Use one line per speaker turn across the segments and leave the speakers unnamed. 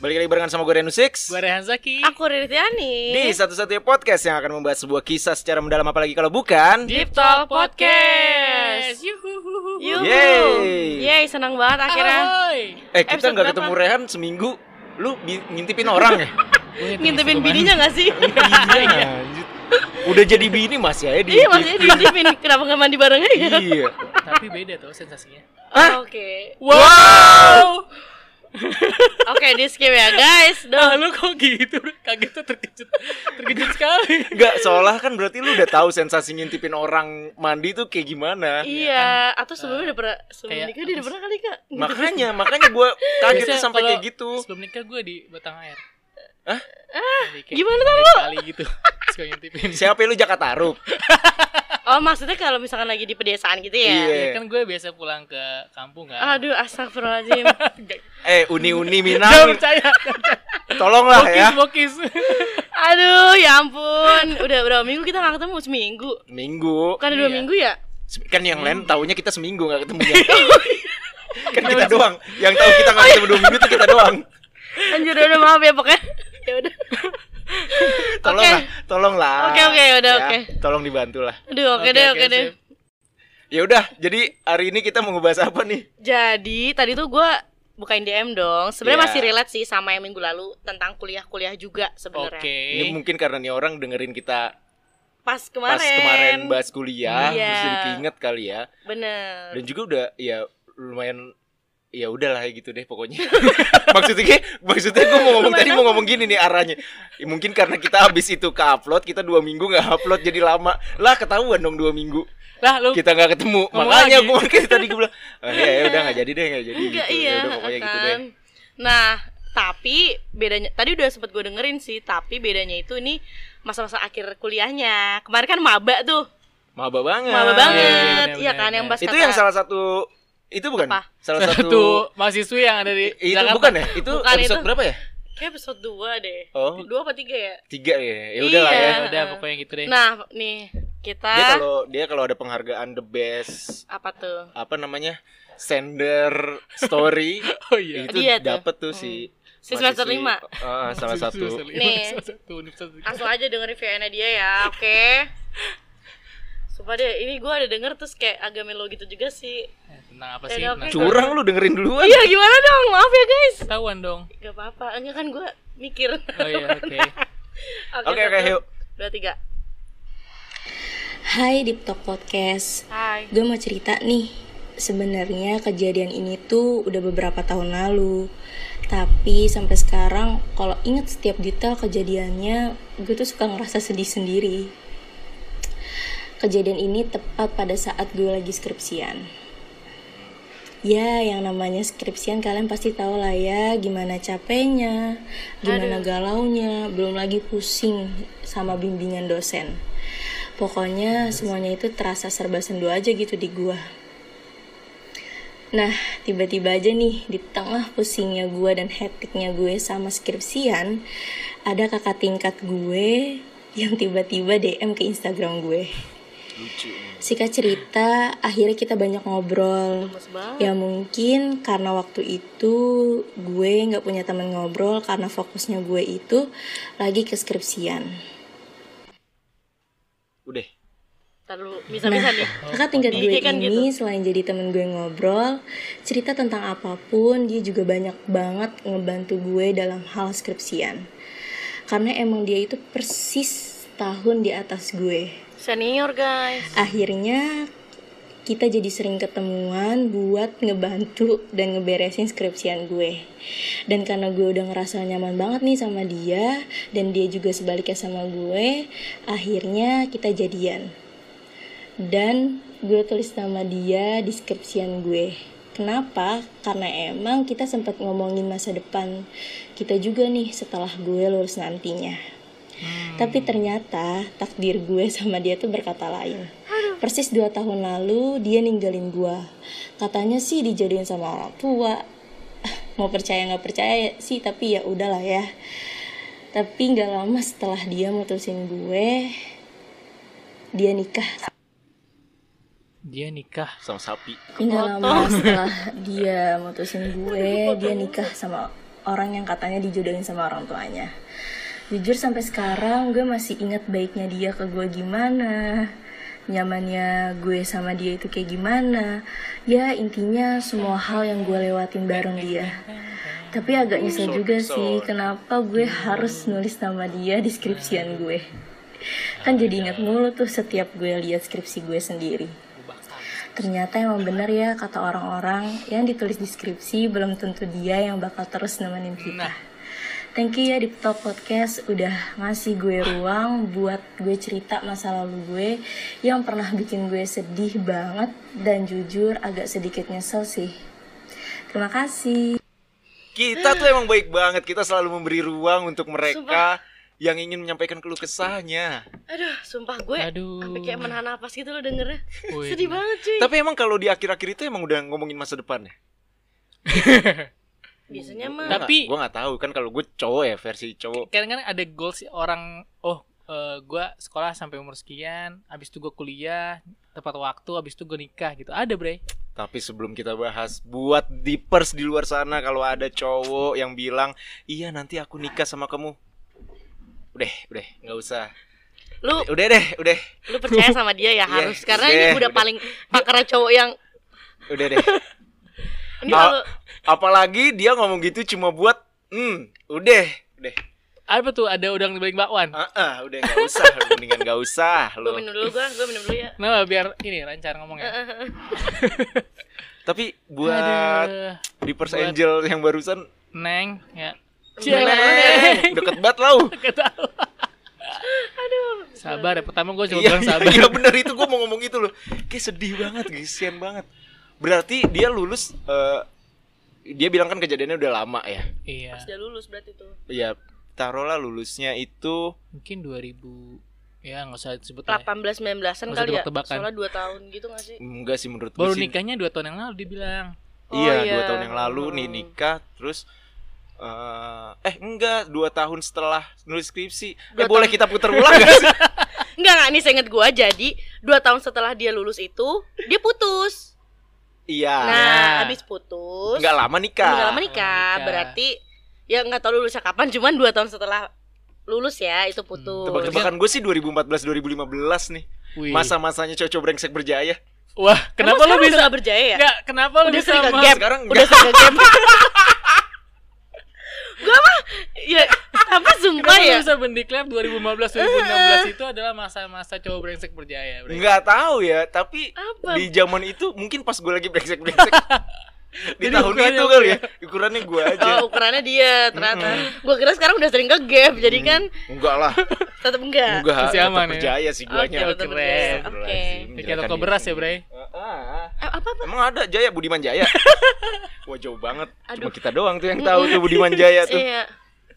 barengan sama gue Renu Six
Gue Rehan Zaki
Aku Riri Tiani
Di satu-satunya podcast yang akan membahas sebuah kisah secara mendalam apalagi kalau bukan
Deep
Talk Podcast.
Yuhu
Yuhu.
Yeay.
Yeay, senang banget akhirnya
Ahoy.
Eh kita
Episode
nggak ketemu
berapa?
Rehan seminggu Lu bi- ngintipin orang ya?
Ngintipin bininya gak sih?
Iya anjir. Udah jadi bini masih aja
Iya
diintipin
maksudnya diintipin Kenapa gak mandi bareng aja?
Iya
Tapi beda tuh sensasinya
Oke
Wow
Oke di skip ya guys
Ah
Duh.
lu kok gitu Kagetnya terkejut Terkejut sekali
Nggak seolah kan berarti lu udah tahu sensasi ngintipin orang mandi tuh kayak gimana
Iya Atau sebelumnya udah pernah Sebelum
kayak-
nikah dia udah pernah kali kak
Makanya, makanya gue kaget tuh
Biasanya
sampai
kalau
kayak gitu
Sebelum nikah gue di batang air
Hah?
Jadi kayak
gimana
sekali-
tuh lu?
Sekali gitu Suka ngintipin
Siapa lu Jaka Tarub?
Oh maksudnya kalau misalkan lagi di pedesaan gitu ya
Iya kan gue biasa pulang ke kampung kan
Aduh astagfirullahaladzim
Eh, Uni-Uni
Jangan
Minang
percaya
Tolonglah ya
Bokis bokis
Aduh ya ampun Udah berapa minggu kita gak ketemu Seminggu
Minggu
Bukan dua
Iya.
minggu ya?
Se- Kan yang lain
Hmm.
taunya kita seminggu gak ketemu ya
Iya.
Kan kita doang Yang
Oh,
tahu kita gak ketemu dua minggu itu kita doang
Anjir udah maaf ya pokoknya Ya udah
Tolonglah, tolonglah Ya,
Oke, oke, udah, oke.
Tolong dibantulah
Aduh oke deh oke deh
sip.
Ya udah, jadi hari ini kita mau ngebahas apa nih?
Jadi tadi tuh gue bukain DM dong. Sebenarnya
Iya.
masih relate sih sama yang minggu lalu tentang kuliah-kuliah juga sebenarnya.
Oke
Ini mungkin karena nih orang dengerin kita
Pas
pas
kemarin.
kemarin bahas kuliah
Iya.
Terus jadi keinget kali ya
Bener.
Dan juga udah, ya lumayan ya udahlah ya gitu deh pokoknya maksudnya kayak- maksudnya gue mau ngomong tadi mau ngomong gini nih arahnya Ya, mungkin karena kita habis itu ke upload kita dua minggu nggak upload jadi lama lah ketahuan dong dua minggu
Lah lu
kita nggak ketemu
Ngomong
makanya
lagi.
gue makanya tadi gue bilang "Ah, ya, ya udah nggak jadi deh nggak jadi
Enggak
gitu
iya.
ya udah pokoknya gitu deh
kan. Nah tapi bedanya tadi udah sempet gue dengerin sih tapi bedanya itu ini masa-masa akhir kuliahnya kemarin kan maba tuh
maba banget
maba
iya,
banget
bener,
iya
bener,
kan yang
bener.
bahas
itu
kata-
yang salah satu itu bukan
Apa?
salah
satu
satu
mahasiswi yang ada di
itu
Jakarta.
bukan ya itu
Bukan,
episode
itu.
berapa ya
kayak episode 2 deh
Oh.
dua apa tiga ya
tiga ya ya udah lah
Iya.
ya
Ya udah pokoknya gitu deh.
nah nih kita
dia kalau dia kalau ada penghargaan the best
apa tuh
apa namanya sender story
oh iya.
itu
Dia tuh. Hmm.
dapet tuh si
Si semester
mahasiswi,
lima.
uh, salah satu
Nih. langsung aja dengerin VN-nya dia ya, oke? Sumpah deh, ini gue ada denger terus kayak agak melo gitu juga sih
Tentang apa sih?
Yaudah,
Tentang
oke.
curang lu dengerin duluan
Iya gimana dong, maaf ya guys
ketahuan dong.
Gak apa-apa, enggak kan gue mikir
Oh iya, oke.
oke oke
satu,
yuk
Dua, tiga
Hai Deep Talk Podcast.
Hai
Gue mau cerita nih. Sebenarnya kejadian ini tuh udah beberapa tahun lalu. Tapi sampai sekarang kalau inget setiap detail kejadiannya, gue tuh suka ngerasa sedih sendiri. Kejadian ini tepat pada saat gue lagi skripsian. Ya, yang namanya skripsian kalian pasti tahu lah ya gimana capeknya, gimana galaunya, belum lagi pusing sama bimbingan dosen. Pokoknya semuanya itu terasa serba sendu aja gitu di gua. Nah, tiba-tiba aja nih di tengah pusingnya gue dan hektiknya gue sama skripsian, ada kakak tingkat gue yang tiba-tiba DM ke Instagram gue.
lucu
Singkat cerita, akhirnya kita banyak ngobrol.
Mas banget
Ya mungkin karena waktu itu gue nggak punya teman ngobrol karena fokusnya gue itu lagi ke skripsian.
udah
Ntar dulu, bisa-bisa nih
Kakak tingkat
Jadi
gue
kayak kan
ini selain jadi temen gue ngobrol, cerita tentang apapun, dia juga banyak banget ngebantu gue dalam hal skripsian. Karena emang dia itu persis tahun di atas gue.
Senior guys
Akhirnya kita jadi sering ketemuan buat ngebantu dan ngeberesin skripsian gue. Dan karena gue udah ngerasa nyaman banget nih sama dia dan dia juga sebaliknya sama gue, akhirnya kita jadian. Dan gue tulis nama dia di skripsian gue. Kenapa? Karena emang kita sempat ngomongin masa depan kita juga nih setelah gue lulus nantinya. Tapi ternyata takdir gue sama dia tuh berkata lain. Persis dua tahun lalu dia ninggalin gue. Katanya sih dijodohin sama orang tua. Mau percaya nggak percaya sih tapi ya udahlah ya. Tapi nggak lama setelah dia mutusin gue, dia nikah
Dia nikah.
sama sapi
Enggak lama setelah dia mutusin gue, dia nikah sama orang yang katanya dijodohin sama orang tuanya. Jujur sampai sekarang gue masih ingat baiknya dia ke gue gimana. Nyamannya gue sama dia itu kayak gimana. Ya intinya semua hal yang gue lewatin bareng dia. Tapi agak nyesel
Kesel,
juga
kesel.
sih kenapa gue harus nulis nama dia di skripsian gue. Kan jadi ingat mulu tuh setiap gue lihat skripsi gue sendiri. Ternyata emang bener ya kata orang-orang yang ditulis deskripsi belum tentu dia yang bakal terus nemenin kita. Thank you ya di Talk Podcast udah ngasih gue ruang buat gue cerita masa lalu gue yang pernah bikin gue sedih banget dan jujur agak sedikit nyesel sih. Terima kasih.
Kita tuh emang baik banget. Kita selalu memberi ruang untuk mereka yang ingin menyampaikan keluh kesahnya.
Aduh, sumpah gue
Aduh.
sampai kayak menahan napas gitu lo dengernya.
Wih, nah.
Sedih banget cuy.
Tapi emang kalau di akhir-akhir itu emang udah ngomongin masa depan ya?
Biasanya
Gua
mah
nggak-
Tapi-
gua nggak tahu kan kalau gue cowok ya versi cowok.
kadang-kadang ada goals orang oh eh, gua sekolah sampai umur sekian abis itu gua kuliah tepat waktu abis itu gua nikah gitu ada bre
Tapi sebelum kita bahas, buat dipers di luar sana kalau ada cowok yang bilang, "Iya, nanti aku nikah sama kamu." Udah, udah, nggak usah.
lu
Udah deh, udah.
lu percaya sama dia
Iya,
ya harus karena
udah,
ini udah
udah.
paling pakar cowok yang
Udah deh.
ini
Ah.
kalau
Apalagi dia ngomong gitu cuma buat, "Hmm, udah." Udah.
apa tuh ada udang di balik bakwan
Ah, ah, udah nggak usah. Mendingan nggak usah
gue
lo.
minum dulu gue gue minum dulu ya.
Nah, biar ini lancar ngomong
Eh.
ya.
Tapi buat
Aduh,
dipers
buat-
angel yang barusan
Neng, ya.
Neng, deket banget uh. lo.
Gak tau. Sabar ya, pertama gue cuma
Iya,
bilang
iya,
sabar.
iya, bener itu gue mau ngomong itu loh. Kayak sedih banget, kesian banget. Berarti dia lulus eh, dia bilang kan kejadiannya udah lama ya.
Iya,
Pas dia lulus berarti tuh.
Ya taruhlah lulusnya itu
mungkin 2000 ya nggak usah disebut lah. ya.
18 19-an
Nggak usah
kali ya.
tebak-tebakan.
Soalnya 2 tahun gitu gak sih?
enggak sih menurut gue
Baru
sih.
nikahnya 2 tahun yang lalu dia bilang.
Iya,
Oh,
dua
iya.
tahun yang lalu nih
Hmm.
nikah terus eh, eh enggak dua tahun setelah nulis skripsi eh,
Dua
boleh
tahun.
kita putar ulang gak sih?
Enggak enggak nih seinget gue jadi 2 tahun setelah dia lulus itu dia putus.
Iya
Nah, habis putus
enggak lama nikah
Udah lama nikah,
Nikah.
berarti ya nggak tahu lulusnya kapan, cuman dua tahun setelah lulus ya itu putus.
Hmm,
tebak-tebakan
tebak-tebak.
gue sih 2014-2015 nih
Wih.
masa-masanya cocok brengsek berjaya
Wah, kenapa lu
sekarang udah
bisa?
nggak berjaya ya?
Enggak, kenapa lu
Udah
bisa
sering
sama?
nge-gap.
sekarang
Udah sering game. Gua mah ya apa sumpah
Kenapa
ya?
lu bisa mendeklar 2015 2016 itu adalah masa-masa cowok brengsek berjaya, bre.
Nggak tahu ya, tapi
Apa?
di zaman itu mungkin pas gue lagi brengsek-brengsek di
Jadi
tahun
ukurannya
itu
lu
kali
ya?
ya, ukurannya gue aja.
Oh, ukurannya dia ternyata. Gua kira sekarang udah sering ke gap, jadi kan
enggak lah,
tetap enggak.
enggak.
Masih aman
Tetap
ya?
percaya sih guanya.
Oke, tetap
Keren.
berjaya. Oke.
Astagfirullahaladzim,
Kayak
menjalankan
toko
diri
beras ya,
sendiri.
Bre.
Ah, ah, ah.
Eh, Apa apa?
Emang ada Jaya Budiman Jaya? Wah jauh banget. Cuma
Aduh.
kita doang tuh yang tahu tuh Budiman Jaya tuh.
Iya.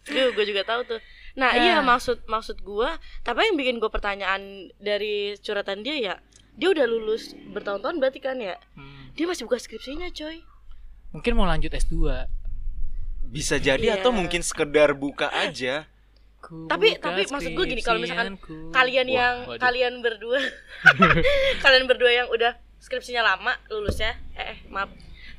Duh, gue juga tahu tuh. Nah,
Ya.
iya maksud maksud gua, tapi yang bikin gue pertanyaan dari curhatan dia ya, dia udah lulus bertahun-tahun berarti kan ya?
Hmm.
Dia masih buka skripsinya, coy.
Mungkin mau lanjut S2.
Bisa jadi
Iya.
atau mungkin sekedar buka aja.
Ku
Tapi-
buka
tapi maksud gua gini, kalau misalkan
skripsianku.
Kalian
Wah,
yang
waduh.
kalian berdua kalian berdua yang udah skripsinya lama lulusnya. Eh, eh, maaf.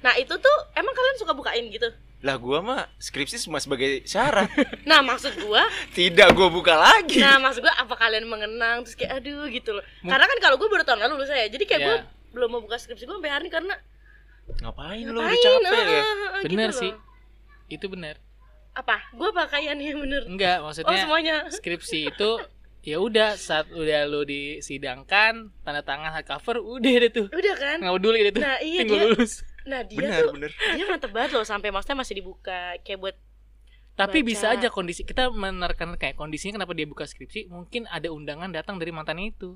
Nah, itu tuh emang kalian suka bukain gitu.
Lah gua mah skripsi cuma sebagai syarat.
Nah, maksud gua,
Tidak gua buka lagi.
nah maksud gua apa kalian mengenang terus kayak aduh gitu loh.
Mung-
Karena kan kalau gue baru tahun lalu lulusnya ya. Jadi kayak gue
Ya.
belum mau buka skripsi gue sampai hari ini karena
Ngapain, lu udah
ngapain?
capek
eh,
ya?
eh, eh,
Bener
gitu
sih.
loh.
Itu benar.
apa gue pakaiannya menurut
Enggak,
oh
maksudnya
semuanya
skripsi itu ya udah saat udah lu disidangkan tanda tangan hard cover udah deh tuh
udah kan
nggak peduli deh tuh
nah iya
tinggal
dia
lulus
nah dia
Bener,
tuh
bener.
dia mantep banget loh sampai maksudnya masih dibuka kayak buat
tapi
Baca.
bisa aja kondisi kita menerkan kayak kondisinya kenapa dia buka skripsi mungkin ada undangan datang dari mantannya itu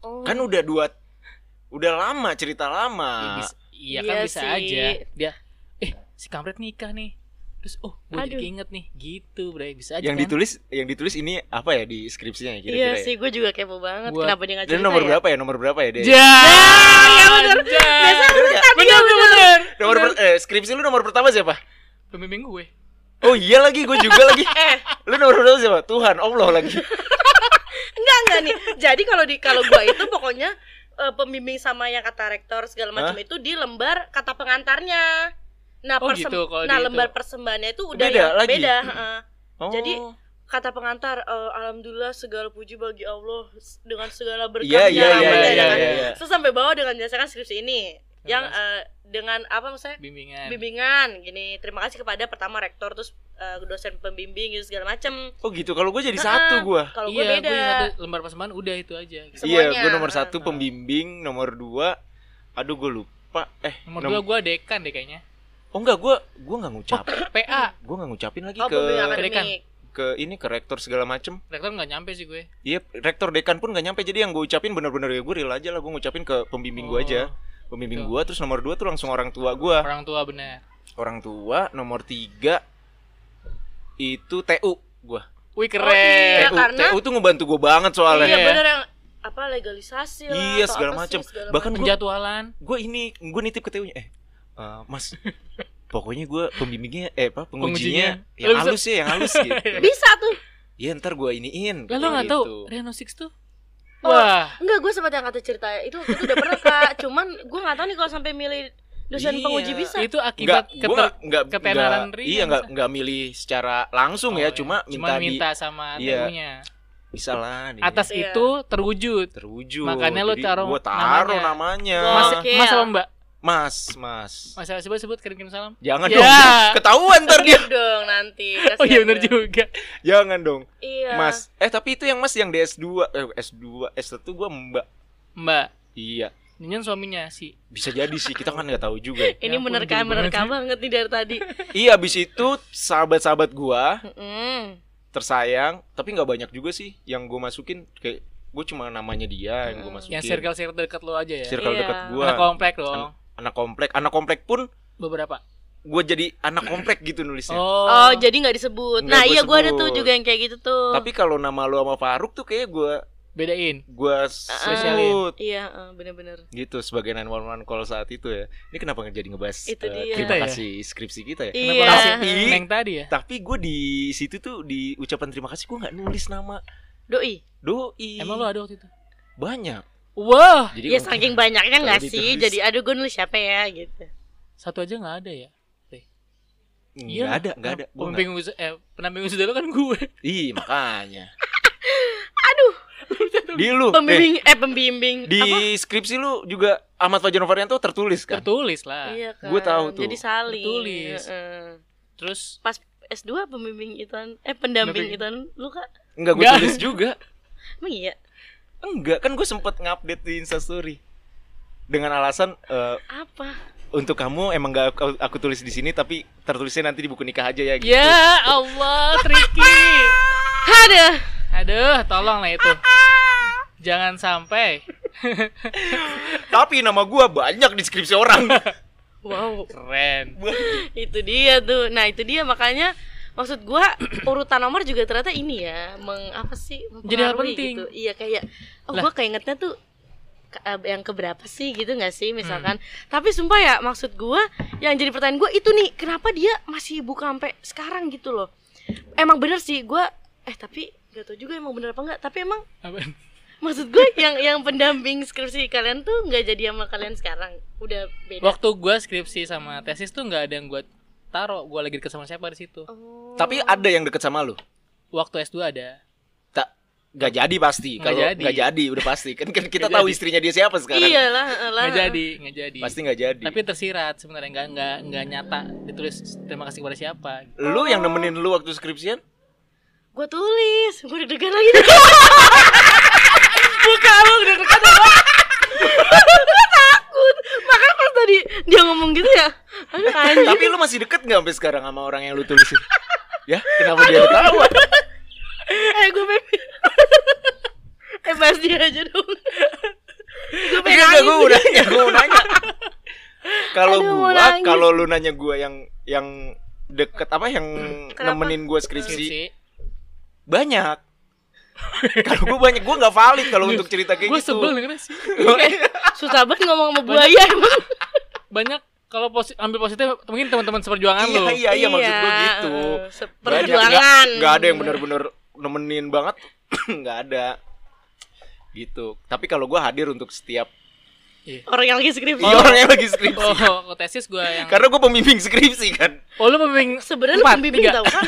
oh,
kan udah dua udah lama cerita
Ya,
lama
bisa- iya
Iya
kan bisa
sih.
aja dia eh si kampret nikah nih terus oh gue jadi
Aduh.
keinget nih gitu bre bisa aja
yang
kan?
ditulis yang ditulis ini apa ya di skripsinya ya
iya
kira-kira ya?
sih gue juga kepo banget
Buat-
kenapa dia nggak
dan
cerita
nomor
ya?
berapa ya nomor berapa ya dia
ja
ya bener.
Bener
Ja.
biasanya iya, udah
nggak?
tadi
bener
udah-
bener bener
nomor per- eh, skripsi lu nomor pertama siapa
pembimbing gue
oh iya lagi gue juga lagi
eh
lu nomor berapa siapa Tuhan Allah lagi
enggak enggak nih jadi kalau di kalau gue itu pokoknya eh, pembimbing sama yang kata rektor segala macam itu di lembar kata pengantarnya Nah,
Oh
persem-
gitu kalau
nah
di itu.
lembar persembahannya itu udah
Beda
yang
lagi?
beda. heeh.
Oh.
Jadi, Kata pengantar, eh, alhamdulillah segala puji bagi Allah s- dengan
Iya
segala berkahnya.
iya iya iya
Ramadan, ya kan?
iya. iya.
Terus sampai bawah dengan menyelesaikan skripsi ini yang
Terima
eh, dengan apa misalnya
bimbingan.
bimbingan gini terima kasih kepada pertama rektor terus eh, dosen pembimbing gitu segala macam
Oh gitu. Kalau gue jadi
Heeh.
satu gue.
kalau gue
iya,
beda
yang satu lembar persembahan udah itu aja. gitu.
Iya,
Semuanya.
gue nomor
Ah.
satu pembimbing, nomor dua. Aduh, gue lupa. Eh,
Nomor
nom-
dua gue dekan deh kayaknya.
Oh enggak, gue gue nggak ngucap.
PA,
gue nggak ngucapin lagi ke
oh pembimbing
Pendidikan.
akademik
ke ini ke rektor segala macem.
rektor nggak nyampe sih gue.
Iya, rektor dekan pun nggak nyampe. Jadi yang gue ucapin bener-bener ya gue rela aja lah. Gue ngucapin ke pembimbing gue aja. Pembimbing
Betul.
gue, terus nomor dua tuh langsung orang tua gue.
Oh, Orang tua bener.
Orang tua, nomor tiga itu TU gue.
Wih
Oh, iya,
keren.
TU,
karena-
TU tuh ngebantu gue banget soalnya. ya.
iya
Ya, Iya.
bener yang apa legalisasi lah
Iya,
atau
segala
apa sih,
macem.
segala
Bahkan gue
Penjadwalan.
gue ini gue nitip ke TU-nya eh eh, mas pokoknya gue pembimbingnya eh apa pengujinya
Pengujinya.
yang
Lu bisa-
halus ya yang halus gitu
macem. bisa tuh
ya ntar gue iniin
Lah, Lo
katanya
nggak
gitu.
tahu Reno Six tuh?
Oh.
Wah,
enggak gue sempat yang kata cerita itu itu udah pernah kak cuman gue nggak tahu nih kalau sampai milih dosen
Iya.
penguji bisa
itu
nggak
akibat
gue nggak
keter-
nggak
ketenaran
nggak-
Ria,
iya nggak
masa?
nggak milih secara langsung
Oh,
ya
iya.
cuma minta,
minta sama
Iya.
temunya.
di bisa lah di-
Atas
Iya.
itu terwujud.
terwujud
Makanya lu taruh
gue taruh
namanya.
namanya,
Mas,
Oke.
mas apa Mbak?
mas mas
Mas sebut sebut kirim kirim salam.
jangan
Ya.
dong ketahuan ntar dia
Gitu dong nanti
Oh iya
kasihan
benar
dia.
juga.
jangan dong
Ya.
iya
mas eh tapi itu yang mas yang di S 2 eh, S 2 S 1 gue mbak
Mbak,
iya
Nyonya suaminya si
bisa jadi sih kita kan nggak tahu juga ya.
Ya
ini
ampun,
menerka
gimana
menerka banget nih dari tadi
Iya abis itu sahabat-sahabat gua
Mm.
tersayang tapi nggak banyak juga sih yang gua masukin kayak gua cuma namanya dia yang gua masukin
Hmm. yang circle circle dekat lo aja ya.
Circle
Iya.
dekat gua
Anak komplek dong.
anak komplek anak komplek pun
Beberapa.
gua jadi anak komplek gitu nulisnya
oh
Oh,
jadi nggak disebut
Nggak
nah
gua
iya gue ada tuh
sebut.
juga yang kayak gitu tuh
tapi kalau nama lu sama Faruk tuh kayak gua
bedain.
gua sebut
iya eh, bener-bener
gitu sebagai 911 call saat itu ya ini kenapa nggak jadi ngebahas
Itu
eh,
dia.
terima
Kita ya?
kasih skripsi kita ya
Kenapa
Iya.
kasih Neng tadi ya?
tapi gua di situ tuh di ucapan terima kasih gua nggak nulis nama
Doi.
doi
Emang lo ada waktu itu?
banyak
Wah,
jadi
Ya
kalau-
saking banyaknya nggak
Kalau
sih.
ditulis.
Jadi aduh gue nulis siapa ya gitu.
satu aja nggak ada ya? Iya.
nggak ada nggak ada Gua nggak- Iya.
Pendamping wisuda, eh, pendamping wisuda lo kan gue.
Ih makanya.
Aduh,
Di lu, eh,
pembimbing eh, pembimbing.
di
Apa?
skripsi lu juga Ahmad Fajar Novarianto tertulis kan?
Tertulis lah.
Iya kan.
Gua tahu tuh.
Jadi saling.
Tertulis.
Heeh.
Terus
S2 pembimbing ituan eh
Pendamping.
pendamping ituan lu Kak.
Enggak gue
Nggak.
tulis juga.
Emang iya.
Enggak, kan gue sempet ngupdate di Instastory dengan alasan eh,
Apa?
untuk kamu emang gak aku, aku tulis di sini tapi tertulisnya nanti di buku nikah aja ya gitu.
ya Allah, tricky.
Ada.
Aduh, tolong lah itu. Jangan sampai
Tapi nama gue banyak di skripsi orang.
Wow,
keren.
itu dia tuh. Nah, itu dia makanya maksud gua urutan nomor juga ternyata ini ya, meng apa sih?
Jadi hal
mempengaruhi
penting.
Gitu. Iya kayak oh
Lah.
gua keingetnya tuh ke- eh, yang keberapa sih gitu nggak sih misalkan tapi sumpah ya maksud gua yang jadi pertanyaan gua itu nih kenapa dia masih buka sampai sekarang gitu loh emang bener sih gua eh tapi gak tau juga emang bener apa enggak tapi emang
Apaan?
maksud gue yang yang pendamping skripsi kalian tuh nggak jadi sama kalian sekarang udah beda
Waktu gue skripsi sama tesis tuh nggak ada yang gue taruh gue lagi deket sama siapa di situ.
Oh.
tapi ada yang deket sama lu.
Waktu S2 ada.
Tak Gak jadi pasti
Nggak
kalau
jadi.
nggak jadi udah pasti kan, kan kita
Nggak
tahu
jadi.
istrinya dia siapa sekarang
iyalah lah
Nggak jadi, nggak jadi.
pasti nggak jadi
Tapi tersirat sebenarnya nggak nggak nggak nyata ditulis terima kasih kepada siapa.
lu yang nemenin lu waktu skripsian
gue tulis gue deg-degan lagi buka lu deg-degan apa? Gua takut makanya pas tadi dia ngomong gitu ya aduh anjing
Tapi lu masih deket gak sampai sekarang sama orang yang lu tulisin? ya, kenapa dia ketawa?
eh gue pengen eh bahas dia aja dong gue pengen
Enggak,
nangis
gue Iya, udah nanya, gue mau nanya. Kalau
Aduh, mau
gua,
nangis.
kalau lu nanya gua yang yang deket apa yang
Kenapa?
nemenin gua skripsi
Skripsi.
banyak. kalau gua banyak, gua nggak valid kalau untuk cerita kayak
Gue
gitu. iya,
sebel dengernya sih.
susah banget ngomong sama buaya emang
Banyak kalau posi- ambil positif mungkin teman-teman seperjuangan lu.
iya, iya, iya, maksud gua gitu.
eh, se-
Banyak,
perjuangan
nggak- nggak ada yang benar-benar nemenin banget, nggak ada. Gitu. Tapi kalau gua hadir untuk setiap
Iya.
orang yang lagi skripsi
Iya orang yang lagi skripsi.
Oh, kalau tesis gue yang
Karena gue pembimbing skripsi kan.
Oh, lu pembimbing
sebenarnya
empat,
pembimbing
tiga.
tahu kan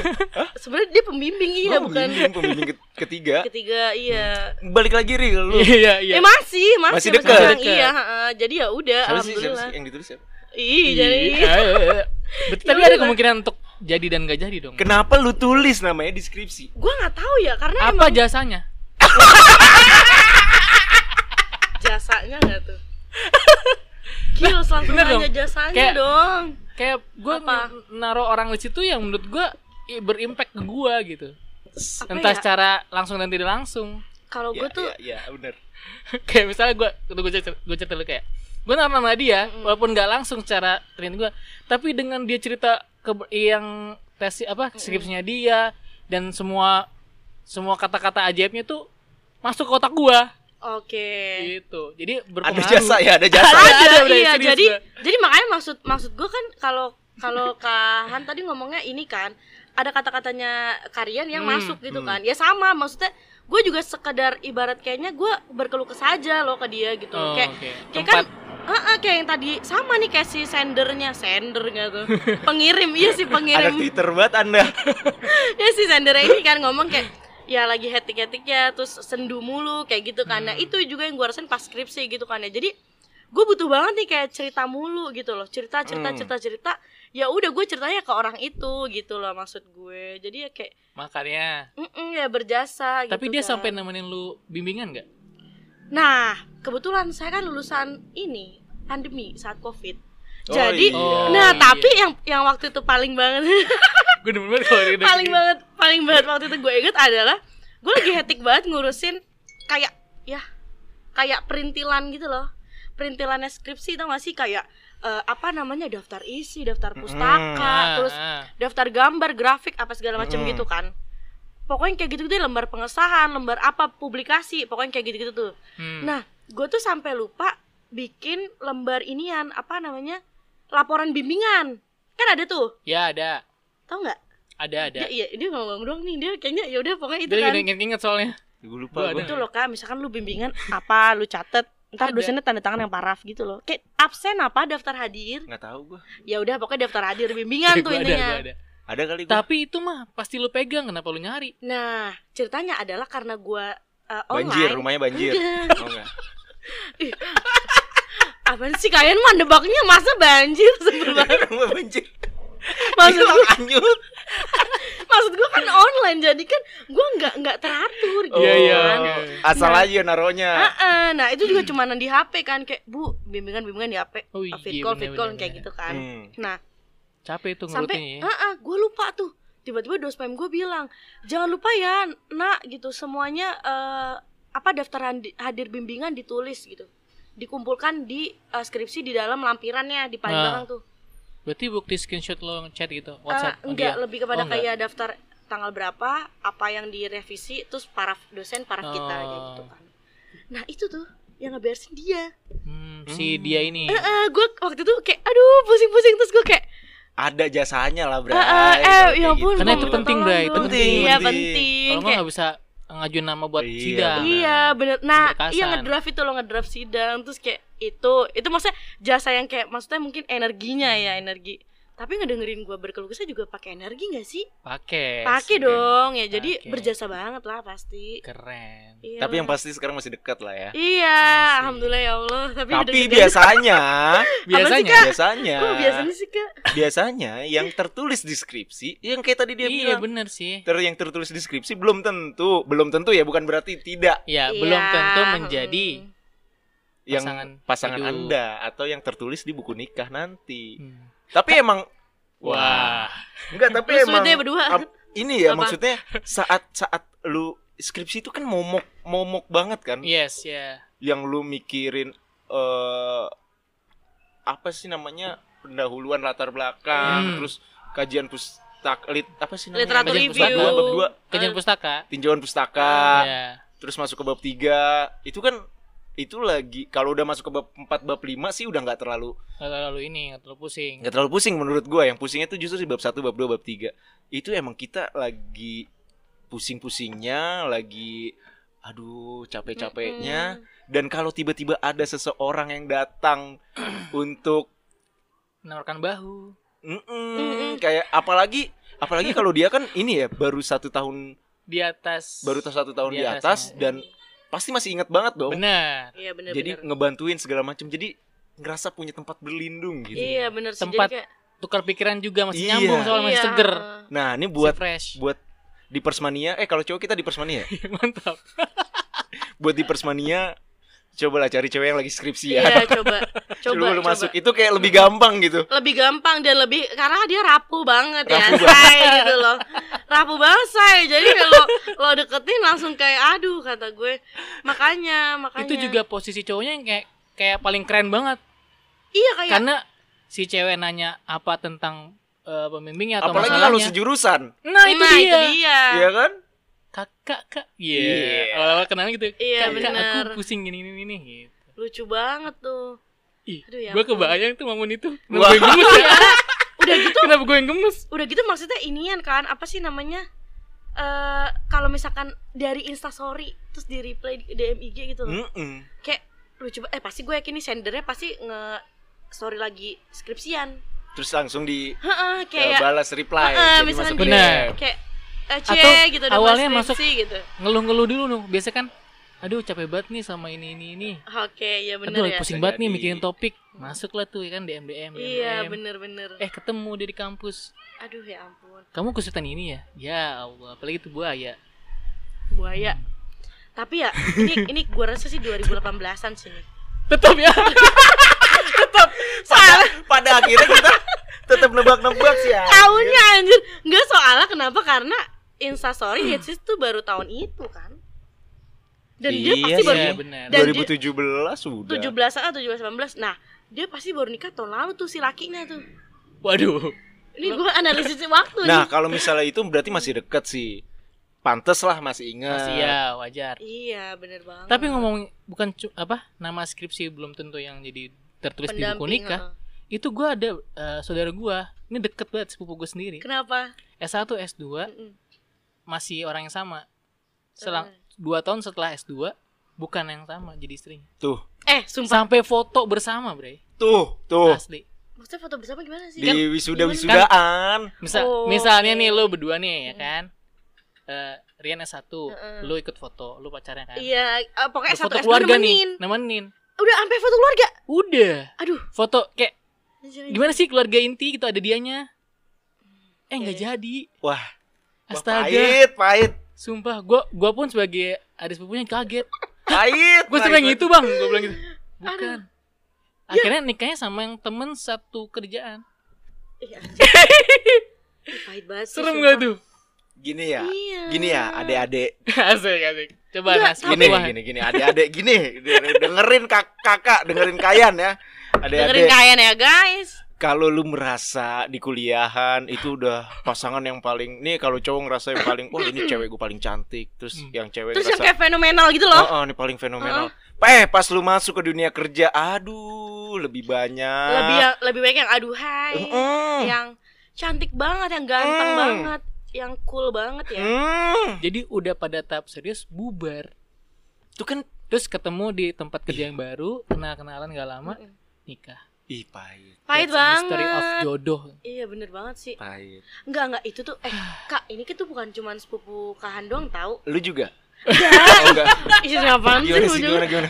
sebenarnya dia pembimbing iya
Gua
bukan
Oh, pembimbing, pembimbing ket- ketiga.
ketiga iya
Balik lagi real lu.
Iya, iya.
Eh masih, masih,
Masih
sampai
dekat.
sekarang.
Dekat.
Iya, heeh. jadi ya udah
Siapa sih, siapa
alhamdulillah.
sih yang ditulis siapa?
Ih,
Iya,
jadi
iya, iya. Berarti tadi
Ya
ada
udah.
kemungkinan untuk jadi dan gak jadi dong.
Kenapa lu tulis namanya di skripsi?
gua nggak tahu ya karena
Apa
emang
jasanya?
jasanya nggak tuh. Gila
dong.
selangkungannya jasanya
Kayak-
dong.
Kayak gue
Apa?
naruh orang di situ yang menurut gue berimpact ke gue gitu.
Apa
Entah
ya?
secara langsung dan tidak langsung.
Kalau
Iya,
Oh, gua tuh
iya, iya, benar.
kayak misalnya gue gue cerita gue cerita dulu kayak gue nama nama dia
Hmm.
walaupun nggak langsung secara train gue tapi dengan dia cerita ke yang tes apa
Hmm.
skripsinya dia dan semua semua kata-kata ajaibnya tuh masuk ke otak gue
oke.
gitu jadi
Ada
berpengaruh
jasa ya, ada jasa.
Ada, ada,
Ada,
udah,
iya,
serius
jadi
gua.
jadi makanya maksud maksud gua kan kalau kalau Kahan tadi ngomongnya ini kan ada kata-katanya Karian yang
Hmm,
masuk gitu kan. Ya sama maksudnya gue juga sekedar ibarat kayaknya gua berkeluh kesah aja loh ke dia gitu.
Oh,
kayak
oke.
Kayak
tempat
kan, Heeh, kayak yang tadi sama nih kayak si sendernya, sender nggak tuh? Pengirim, iya si
Ada
pengirim.
Twitter banget Anda.
ya si sendernya ini kan ngomong kayak ya lagi hetik-hetik ya, terus sendu mulu kayak gitu kan. Nah,
Hmm.
itu juga yang gue rasain pas skripsi gitu kan ya. Jadi gue butuh banget nih kayak cerita mulu gitu loh cerita cerita
Hmm.
cerita cerita ya udah gue ceritanya ke orang itu gitu loh maksud gue jadi ya kayak
makanya
mm ya berjasa
tapi
gitu
dia
kan.
sampai nemenin lu bimbingan nggak
Nah, kebetulan saya kan lulusan ini pandemi saat Covid.
Oh,
Jadi,
iya.
nah
Oh,
tapi
iya.
yang yang waktu itu paling banget,
gue demen banget kalau dia udah
paling
gini.
banget, paling banget waktu itu gue inget adalah gue lagi hektik banget ngurusin kayak ya kayak perintilan gitu loh, perintilannya skripsi tau gak sih kayak eh, apa namanya daftar isi, daftar pustaka,
Ah,
terus
ah.
daftar gambar, grafik apa segala macam
Mm-mm.
gitu kan. Pokoknya kayak gitu-gitu deh, lembar pengesahan, lembar apa publikasi, pokoknya kayak gitu-gitu tuh.
Hmm.
Nah, gue tuh sampai lupa bikin lembar inian apa namanya laporan bimbingan. Kan ada tuh,
ya ada
tau nggak?
ada ada
Dia, iya, dia ngomong doang nih dia kayaknya ya udah pokoknya itu
Ya. dia
kan.
inget-inget soalnya
Gue lupa
Gua
gue.
ada.
Itu loh kak, misalkan lu bimbingan apa, lu catet ntar
Ada.
dosennya tanda tangan yang paraf gitu loh kayak absen apa daftar hadir
Enggak tahu gue.
ya udah pokoknya daftar hadir bimbingan tuh
Gua ada, gua
intinya
ada.
Ada kali gue.
Tapi itu mah pasti lu pegang kenapa lu nyari?
nah ceritanya adalah karena gua eh,
Oh,
Banjir,
online
rumahnya banjir.
Enggak.
Oh enggak.
Apaan sih kalian mah nebaknya masa banjir sebelum
Rumah banjir.
maksud
Hilang
Iya,
gua-
anyut.
maksud gue kan online jadi kan gue nggak nggak teratur gitu
Iya, iya.
kan.
Oh. Asal aja narohnya.
Heeh, nah itu juga cumanan di HP kan kayak bu bimbingan bimbingan di HP
Oh iya,
fit call fit
bener,
call
bener,
kayak
bener.
gitu kan
Hmm.
nah
Capek itu
sampai
ngurutnya ya.
heeh gue lupa tuh tiba-tiba dospem gue bilang jangan lupa ya nak gitu semuanya eh, apa daftar handi- hadir bimbingan ditulis gitu dikumpulkan di eh, skripsi di dalam lampirannya di paling
Nah,
belakang tuh
Berarti bukti screenshot lo ngechat gitu
Eh,
WhatsApp sama
enggak
dia.
lebih
Oh,
kepada
enggak.
kayak daftar tanggal berapa apa yang direvisi terus paraf dosen paraf
Oh.
kita kayak gitu kan nah itu tuh yang ngeberesin dia
Hmm, si dia ini.
Eh, eh, gue waktu itu kayak aduh pusing-pusing terus gue kayak
Ada jasanya lah, Bray.
eh, eh, eh
Kalau
ya
kayak
ampun
gitu.
Karena itu
tolong
penting,
dong,
Bray, itu
tolong dong.
penting.
iya
Penting.
penting
Kalau enggak
kayak,
nggak bisa ngajuin nama buat
Iya,
sidang.
bener.
iya bener nah
Pemberkasan.
iya ngedraft itu lo ngedraft sidang terus kayak itu itu maksudnya jasa yang kayak maksudnya mungkin energinya ya energi tapi ngedengerin gue berkeluh kesah juga pakai energi gak sih
Pakai.
pakai dong ya jadi
iya. Pakai.
berjasa banget lah pasti
Keren.
Iya
Tapi yang
lah.
pasti sekarang masih dekat lah ya.
Iya, alhamdulillah ya Allah. Tapi,
Tapi
udah-
biasanya,
Biasanya
Kak?
biasanya,
Kok biasanya sih Kak?
biasanya yang tertulis di skripsi, yang kayak tadi dia
Iya
bilang,
bener sih.
ter yang tertulis di skripsi belum tentu, belum tentu ya, bukan berarti tidak
Ya, belum
Iya,
tentu menjadi
hmm.
yang
pasangan
pasangan
hidup.
Anda atau yang tertulis di buku nikah nanti.
Hmm.
Tapi emang
Wah.
enggak, tapi
Lu sulit
emang
deh berdua.
ap- ini ya
Apa?
maksudnya saat saat lu skripsi itu kan momok momok banget kan
Yes, ya.
yang lu mikirin eh apa sih namanya pendahuluan latar belakang
Hmm.
terus kajian pustaka lit, apa sih namanya
Literatur
Kajian
review.
pustaka, bab dua,
Eh.
Kajian pustaka.
tinjauan pustaka
Iya.
terus masuk ke bab 3 itu kan itu lagi kalau udah masuk ke bab 4 bab 5 sih udah nggak terlalu
Nggak terlalu ini, nggak terlalu pusing.
nggak terlalu pusing menurut gua yang pusingnya tuh justru di bab 1 bab 2 bab 3 itu emang kita lagi pusing-pusingnya lagi aduh capek-capeknya
Hmm.
dan kalau tiba-tiba ada seseorang yang datang untuk
menawarkan bahu
Hmm.
mm-mm, kayak apalagi apalagi kalau dia kan ini ya baru satu tahun
di atas
baru tuh satu tahun
Di
di atas
atasnya.
dan pasti masih ingat banget dong
benar
Iya benar.
jadi ngebantuin segala macam jadi ngerasa punya tempat berlindung gitu
Iya benar sih.
Tempat
Jadi kayak,
tukar pikiran juga masih
Iya.
nyambung soalnya masih
Iya,
seger
heeh.
nah ini
buat
buat
fresh
buat di persmania eh kalau cowok kita di persmania ya?
mantap
buat di persmania cobalah cari cewek yang lagi skripsian
Iya coba coba
Coba lu
coba.
masuk itu kayak lebih gampang gitu
lebih gampang dan lebih karena dia rapuh banget ya
Rapuh
say gitu loh rapuh banget say jadi kalau lo deketin langsung kayak aduh kata gue makanya makanya
itu juga posisi cowoknya yang kayak kayak paling keren banget
iya kayak
karena si cewek nanya apa tentang eh, pembimbingnya atau
apalagi kalau
masalahnya
sejurusan
nah itu
nah,
dia
Iya kan
kakak kak
Iya.
iya awal-awal kenalnya gitu
Iya,
"Kak, kak,
benar.
aku pusing gini gini gini gitu
lucu banget tuh
Ih,
Aduh, ya
gue
ampun.
kebayang tuh momen itu
Wah.
Kenapa gue yang gemes ya?
udah gitu
Kenapa gue yang gemes?
udah gitu maksudnya inian kan apa sih namanya eh kalau misalkan dari instastory terus di reply di DM IG gitu loh
Mm-mm.
kayak lu coba eh pasti gue yakin nih sendernya pasti nge story lagi skripsian
terus langsung di
Heeh,
eh,
kayak
balas reply
heeh,
jadi
misalkan
masuk
gini.
ke-
Bener.
kayak eh,
Atau
"Cie," gitu udah
awalnya
mulai
masuk-
skripsi, gitu
Ngeluh-ngeluh dulu nuh Biasa kan Aduh capek banget nih sama ini ini ini
oke ya bener
Aduh
ya
pusing
Bisa
banget nih
jadi.
mikirin topik Masuklah tuh ya kan DM DM,
iya
DM.
bener-bener
Eh ketemu dia di kampus
aduh ya ampun
Kamu kesulitan ini ya? Ya Allah Apalagi itu buaya
buaya tapi ya ini ini gue rasa sih 2018an sih nih
Tetap ya
pada, pada akhirnya kita tetap nebak-nebak sih ya.
tahunnya anjir nggak soalnya kenapa karena instastory hits tuh baru tahun itu kan dan dia
Iya
pasti
sih.
baru
Iya benar
2017
Dan-
sudah
17 an atau 17 19 nah dia pasti baru nikah tahun lalu tuh si lakinya tuh
Waduh Nah.
ini gue analisis waktu
Nah,
nih
kalau misalnya itu berarti masih deket sih. Pantes lah masih ingat.
Masih ya wajar
iya bener banget
Tapi ngomong Bukan cu- apa Nama skripsi belum tentu yang jadi Tertulis di buku
Pendamping,
nikah
heeh.
Itu gue ada eh, Saudara gue Ini deket banget sepupu gue sendiri
kenapa
S1 S2
Mm-mm.
masih orang yang sama. Selang dua tahun setelah S2 bukan yang sama jadi istrinya.
Tuh,
eh sumpah
Sampai foto bersama, Bre.
tuh, tuh.
Asli.
maksudnya foto bersama gimana sih Kan,
Di wisuda-wisudaan.
Misal
Oh,
misalnya
oke.
nih lu berdua nih ya kan. Eh Rian S1, lu ikut foto, lu pacarnya kan.
iya eh, pokoknya
Lu
satu
foto
S2
keluarga
nemenin
nih, nemenin.
udah sampai foto keluarga
Udah.
aduh Mm.
Foto kayak gimana sih keluarga inti gitu ada dianya. Eh nggak
Oke.
jadi.
Wah, wah,
Astaga.
pahit, pahit,
Sumpah, gua gua pun sebagai adik sepupunya kaget.
pahit.
gue
pahit,
sampai
pahit.
gitu bang gue bilang gitu bukan
Ya.
akhirnya nikahnya sama yang temen satu kerjaan
Ih, anjir. Iya. Ih, pahit banget sih,
serem
Iya, sumpah.
gak tuh
Gini ya.
Iya.
Gini ya, adik-adik.
asik asik coba
Nggak,
nas
Gini,
wah.
gini, gini, adik-adik gini. Dengerin kak- kakak, dengerin kayan ya. Adik-adik,
dengerin kalian ya guys
kalau lu merasa di kuliahan itu udah pasangan yang paling nih kalau cowok ngerasa yang paling wah ini cewek gue paling cantik terus
Hmm.
yang cewek
terus yang
ngerasa
kayak fenomenal gitu
Oh,
loh
oh, ini paling fenomenal. Eh, pas lu masuk ke dunia kerja, aduh, lebih banyak.
lebih yang, lebih baik Iya, yang aduh hai
oh. Mm-mm.
yang cantik banget yang ganteng
Mm.
banget yang cool banget ya
Hmm.
jadi udah pada tahap serius bubar
Itu kan
terus ketemu di tempat kerja yang baru kenal kenalan gak lama
Mm-mm.
nikah
ih pahit,
pahit
That's the story of
banget
jodoh
iya bener banget sih
pahit.
Enggak, enggak, itu tuh eh Kak, ini tuh bukan cuman sepupu Kahan doang tahu.
Lu juga? Oh, enggak.
Ih, Iya. apaan sih
Gimana iya sih
ujung?
gimana gimana?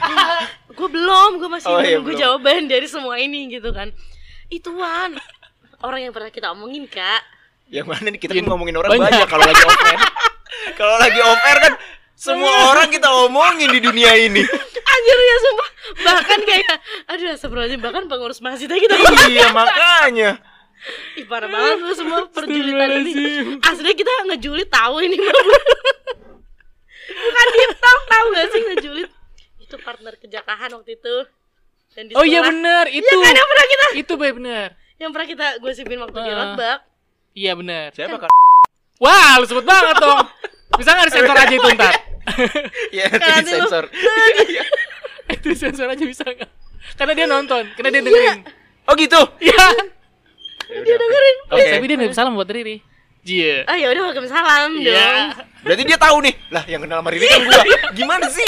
Gue belum, gue masih
Oh, iya,
menunggu
belum.
jawaban dari semua ini gitu kan. Ituan. Orang yang pernah kita omongin, Kak.
Yang mana nih kita kan ngomongin orang
Banyak.
banyak, kalau lagi off air. kalau lagi off air kan semua orang kita omongin di dunia ini.
Anjir ya sumpah. Bahkan kayak aduh sebelumnya bahkan pengurus masjid aja kita.
iya, makanya.
Ih, parah banget lu semua perjulitan ini.
Astagfirullahaladzim.
Aslinya kita ngejulit tahu ini mah. Bukan diptong tahu gak sih ngejulit? Itu partner kejakahan waktu itu. Dan di
oh iya
sekolah.
benar itu
Iya kan yang pernah kita
itu baik benar
yang pernah kita gosipin waktu di
Ah.
Rotbak.
iya benar
Siapa Kak?
wah lu sebut banget dong bisa nggak disensor aja itu ntar
Ya,
Kan,
di sensor.
itu sensor aja bisa nggak karena dia nonton karena
Iya.
dia dengerin
Oh gitu.
iya
Ya udah, Oke.
Tapi dia nggak salah buat Riri. Cie.
oh ya udah Waalaikumsalam dong
Iya.
Berarti dia tahu nih. Lah, yang kenal sama Riri kan gua. Gimana sih?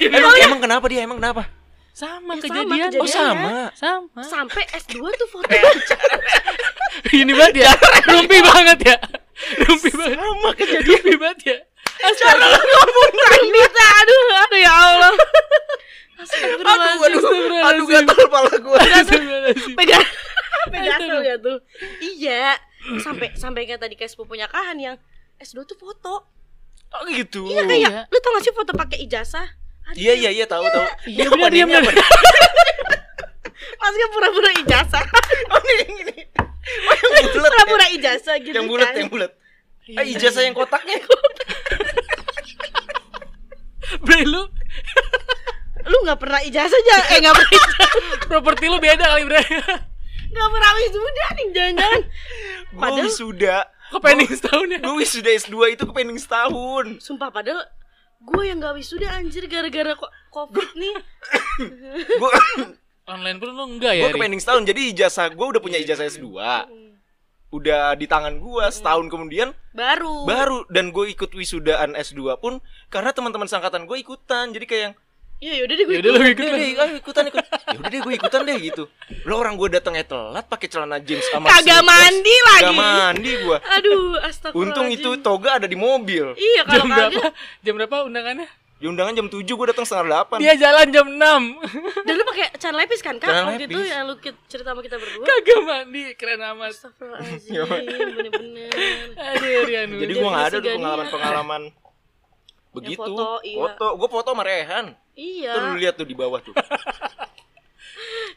Emang, emang kenapa dia? Emang kenapa?
Sama
Ya, sama
kejadian.
kejadian. ya?
Oh, sama.
sama.
sampai S2 tuh foto
Eh,
pacar.
Ini banget ya. Rumpi banget ya. Rumpi banget. Sama kejadian. Rumpi banget ya.
cara lu ngomong Rembita aduh aduh ya Allah
Aduh,
Astagfirullahaladzim
aduh, aduh gatal kepala gua.
Astagfirullahaladzim.
pegang pegang asal ya tuh iya sampai sampai kayak tadi kayak sepupunya kahan yang S2 tuh foto
Oh gitu.
iya kayak
iya.
lu tau gak sih foto pakai ijazah
Iya iya iya tahu tahu.
Iya,
Dia
bener,
apa
dia
dia
bener.
apa?
maksudnya pura-pura ijazah
Oh, ini yang ini. Oh, yang bulat.
pura-pura ijazah gitu
Yang bulat,
kan
yang bulat. Eh, ijazah yang kotaknya.
Bre lu
lu gak pernah ijazah jangan eh gak pernah ijazah
properti lu beda kali bre.
gak pernah wisuda nih jangan-jangan
Gua
Padahal-
wisuda.
Kepening setahun ya.
Gua wisuda S2 itu kepening setahun.
sumpah padahal gue yang gak wisuda anjir gara-gara ko- covid nih
Gua
Online pun lu enggak ya.
gua
Ri?
kepening setahun. Jadi ijazah gua udah punya ijazah S2. Udah di tangan gua setahun kemudian
baru
baru dan gue ikut wisudaan S2 pun karena teman-teman sangkatan gue ikutan. Jadi kayak yang
iya yaudah deh gue
Ya udah lu ikut
Udah
lah.
deh,
Iya.
ayo ikutan ikut. Ya udah deh, gue ikutan deh gitu. Lo orang gue datangnya telat pakai celana jeans sama
kagak
sneakers.
mandi
Kagak
lagi
mandi gue.
aduh astagfirullahaladzim
Untung itu toga ada di mobil.
iya
Jam
kalau
berapa?
kagak
Jam berapa undangannya?
Di undangan jam 7 gue datang setengah 8.
Dia jalan jam 6
dan lu pakai can lepis kan kak
Can
waktu itu
lepis.
yang lu ki- cerita sama kita berdua
Kagak mandi Keren amat
astagfirullahaladzim
Iya,
bener-bener
Aduh Rianu
Jadi
Hmm, Jadi
gue gak ada
sudah
tuh pengalaman-pengalaman begitu.
foto, iya.
Foto, gue foto sama Rehan.
iya
Tuh lu lihat tuh di bawah tuh.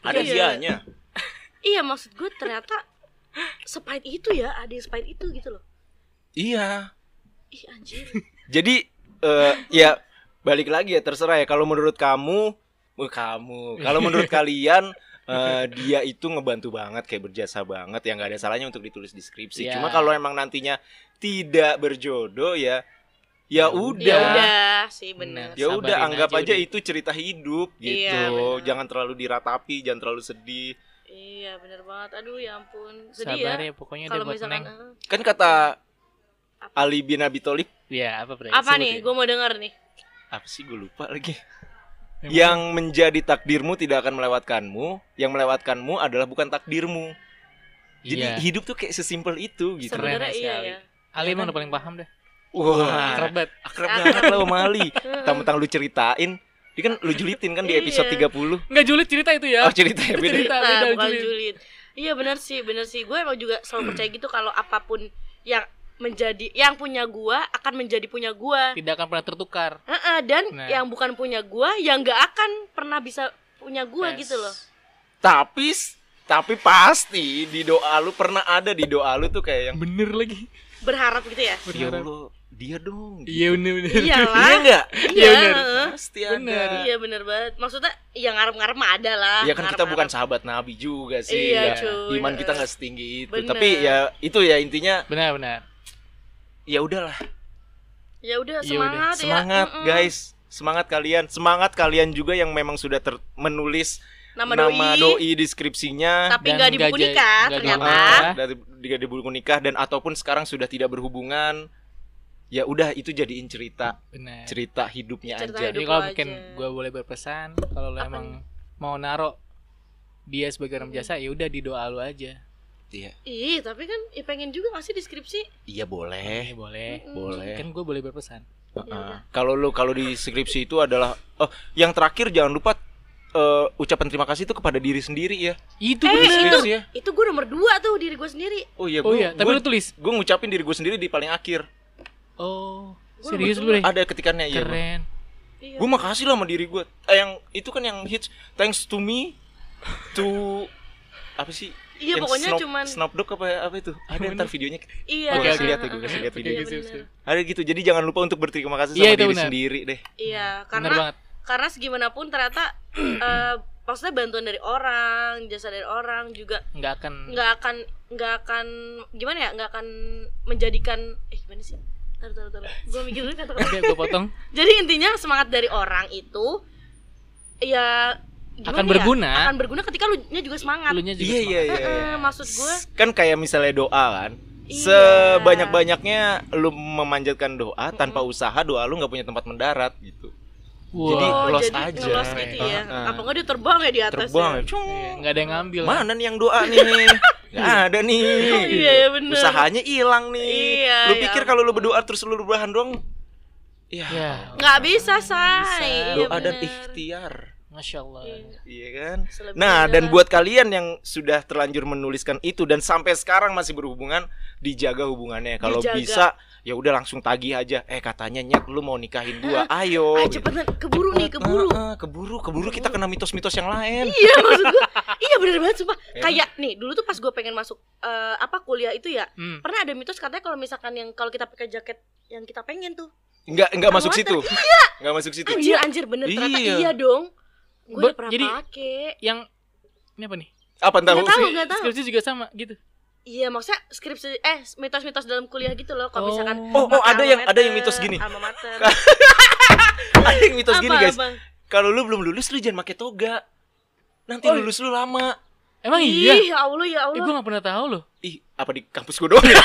ada
Iya.
dianya.
iya maksud gue ternyata sepait itu ya ada yang sepait itu gitu loh
Iya.
ih anjir
Jadi eh, ya balik lagi ya terserah ya kalau menurut kamu eh, kamu kalau menurut kalian eh, dia itu ngebantu banget kayak berjasa banget ya nggak ada salahnya untuk ditulis deskripsi.
Ya.
Cuma
Iya.
kalau emang nantinya tidak berjodoh ya ya
ya
udah.
udah sih bener
Ya
Sabarin
udah anggap
aja
aja,
udah.
itu cerita hidup gitu.
Iya, benar.
jangan terlalu diratapi, jangan terlalu sedih.
iya bener banget aduh ya ampun sedih
Sabar
ya
ya pokoknya dia
kalau
buat
misalkan
neng
eh,
Kan kata Ali bin Abi Thalib
Ya apa bre
apa
Sebutin.
nih gue mau denger nih
apa sih gue lupa lagi.
Yang
Yang menjadi takdirmu tidak akan melewatkanmu, yang melewatkanmu adalah bukan takdirmu. Jadi
Iya.
hidup tuh kayak sesimpel itu gitu.
Keren
sebenarnya iya
sekali.
ya
Ali emang udah paling paham deh
Wah, Iya.
Akrab banget
akrab banget lo sama Ali. Tentang lu ceritain, dia kan lu julitin kan di episode
Iya.
30.
Nggak julid cerita itu ya
Oh, cerita ya
Itu
beda.
cerita
Nah,
beda
bukan
julid.
julid. Iya benar sih, benar sih. Gue emang juga selalu percaya gitu kalau apapun yang menjadi yang punya gua akan menjadi punya gua.
Tidak akan pernah tertukar
Heeh, dan
Nah.
yang bukan punya gua yang nggak akan pernah bisa punya gua
Yes.
gitu loh.
Tapi tapi pasti di doa lu pernah ada di doa lu tuh kayak yang
Bener lagi
Berharap gitu ya.
ya Allah, dia dong.
Iya bener bener
Iya
Iyalah.
enggak?
Iya,
benar.
heeh.
Pasti ada.
Bener.
Iya benar banget. Maksudnya yang ngarep-ngarep mah ada lah.
Ya kan kita bukan
ngarep-ngarep.
sahabat Nabi juga sih.
Iya,
nggak-
cuy.
Iman kita nggak setinggi itu.
Bener.
Tapi ya itu ya intinya
Benar benar
ya udahlah.
Ya udah
Iya
semangat ya.
Semangat
Mm-mm.
guys, semangat kalian, semangat kalian juga yang memang sudah ter- menulis
Nama,
nama
doi.
doi, deskripsinya.
Tapi
Dan
nggak dibuku
nggak jadi-
nikah
nggak
ternyata.
dibuku.
Ah, dari tiga di buku nikah dan ataupun sekarang sudah tidak berhubungan. Ya udah itu jadiin cerita,
Benar
cerita hidupnya
Cerita
aja.
hidup.
Jadi kalau
lo
mungkin
aja.
gue boleh berpesan Kalau lo
Apa Hmm.
emang mau naro dia sebagai orang biasa ya udah di doa lu aja
Iya,
Ih, tapi kan ya pengen juga ngasih deskripsi.
iya boleh.
Eh
Mm.
boleh
Boleh.
Kan gue boleh berpesan
Heeh. Kalau lu kalau di skripsi itu adalah oh, yang terakhir jangan lupa eh, ucapan terima kasih itu kepada diri sendiri ya.
Itu
Eh,
bener
itu.
ya.
Itu gue nomor dua tuh diri gue sendiri.
Oh iya,
Oh
gua-
iya tapi
gua-
lu tulis
gue ngucapin diri gue sendiri di paling akhir
Oh
Gua
serius lu
betul.
Bre?
ada ketikannya ya
Keren
Iya.
gue makasih lah sama diri gue eh, yang itu kan yang hits thanks to me to apa sih
Iya,
Yang
pokoknya
Snoop-
cuman-
Snopdog apa apa itu ada ntar videonya
Iya.
Oke,
oke,
lihat ya, gue kasih lihat
Iya,
video.
Oke, oke, siap,
bener.
siap.
ada gitu jadi jangan lupa untuk berterima kasih sama
Iya, itu
diri
benar.
sendiri deh
Iya,
Bener
karena
banget
karena segimana pun ternyata eh, maksudnya bantuan dari orang, jasa dari orang juga
nggak akan
nggak akan nggak akan gimana ya nggak akan menjadikan eh gimana sih taruh taruh taruh gue mikir dulu kata-kata
Oke, gue potong
jadi intinya semangat dari orang itu ya gimana
Akan
ya?
berguna.
akan berguna ketika lu nya juga semangat
Elunya juga
iya iya
semangat.
iya
Eh,
iya.
maksud gue
kan kayak misalnya doa kan
Iya.
sebanyak-banyaknya lu memanjatkan doa tanpa usaha doa lu nggak punya tempat mendarat gitu
Wah.
Jadi
oh,
lost
jadi
aja.
ngelos gitu ya.
Heeh.
Apa enggak dia terbang ya di atas?
terbang
Ya?
ya, cung.
Iya, nggak ada yang ngambil.
mana nih yang doa nih Nggak ada nih
Oh, iya, iya, bener.
usahanya hilang nih
Iya,
lu
ya
pikir
ampun.
kalau lu berdoa terus lu berbahan doang ya
Ya,
Nggak bisa, say.
Bisa.
Iya,
doa dan
bener.
ikhtiar
masya Allah.
Iya.
iya kan
Selebihnya
Nah, dan
adalah-
buat kalian yang sudah terlanjur menuliskan itu dan sampai sekarang masih berhubungan, dijaga hubungannya. Kalau
Dijaga.
bisa, ya udah langsung tagih aja. Eh, katanya nyet lu mau nikahin gua. Ayo. gitu.
Ayo Ah, cepetan, keburu nih,
Cepet.
keburu.
Ah, ah, keburu, keburu kita kena mitos-mitos yang lain.
Iya maksud gua. Iya bener banget sumpah.
Ya.
Kayak nih dulu tuh pas gue pengen masuk eh, apa kuliah itu ya.
Hmm.
Pernah ada mitos katanya kalau misalkan yang kalau kita pakai jaket yang kita pengen tuh.
Enggak enggak masuk
Kekuatan.
situ. Enggak masuk situ.
Anjir anjir bener ternyata
Iya.
iya dong. Gue
Ba-
udah pernah
jadi-
pake.
Yang ini apa nih?
Apa tahu?
Nggak tahu,
Skripsi-
nggak tahu.
Skripsi juga sama gitu.
Iya maksudnya skripsi eh mitos-mitos dalam kuliah gitu loh kalau misalkan
Oh, oh,
pakai
ada yang-
alma
ada yang
mater,
mitos gini.
Alma mater.
Ada yang mitos gini,
Apa,
guys.
Abang?
Kalau lu belum lulus lu jangan pakai toga. Nanti
iya.
Oh,
lulus lu lama.
Emang iya?
Ih, ya Allah ya
Eh,
Allah.
gue gak pernah tahu loh.
Ih, apa di kampus gua doang ya?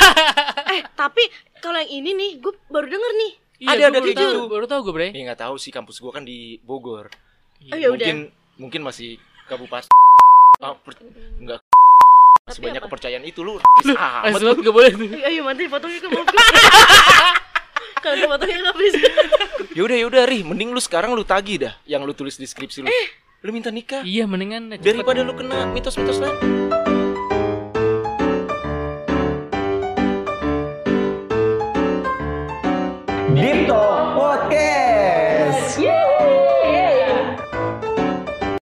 Eh, tapi kalau yang ini nih gue baru denger nih.
Iya,
Ada-
gua
ada
baru
gitu.
tahu, Baru tahu gue, Bre.
Ya enggak tahu sih kampus gua kan di Bogor.
Iya.
Oh, ya udah.
mungkin mungkin masih kabupaten ah, per- enggak masih
Tapi
banyak
apa?
kepercayaan itu lu Ah,
Lu,
amat
Amat gak Eh, boleh tuh.
Ih, Ayo Iya, mati potongnya ke mobil. Kalau dipotongnya ke please.
yaudah yaudah ri ya mending lu sekarang lu tagih dah
Eh.
yang lu tulis deskripsi lu lu minta nikah
Iya, mendingan cepet.
daripada lu kena mitos-mitos lain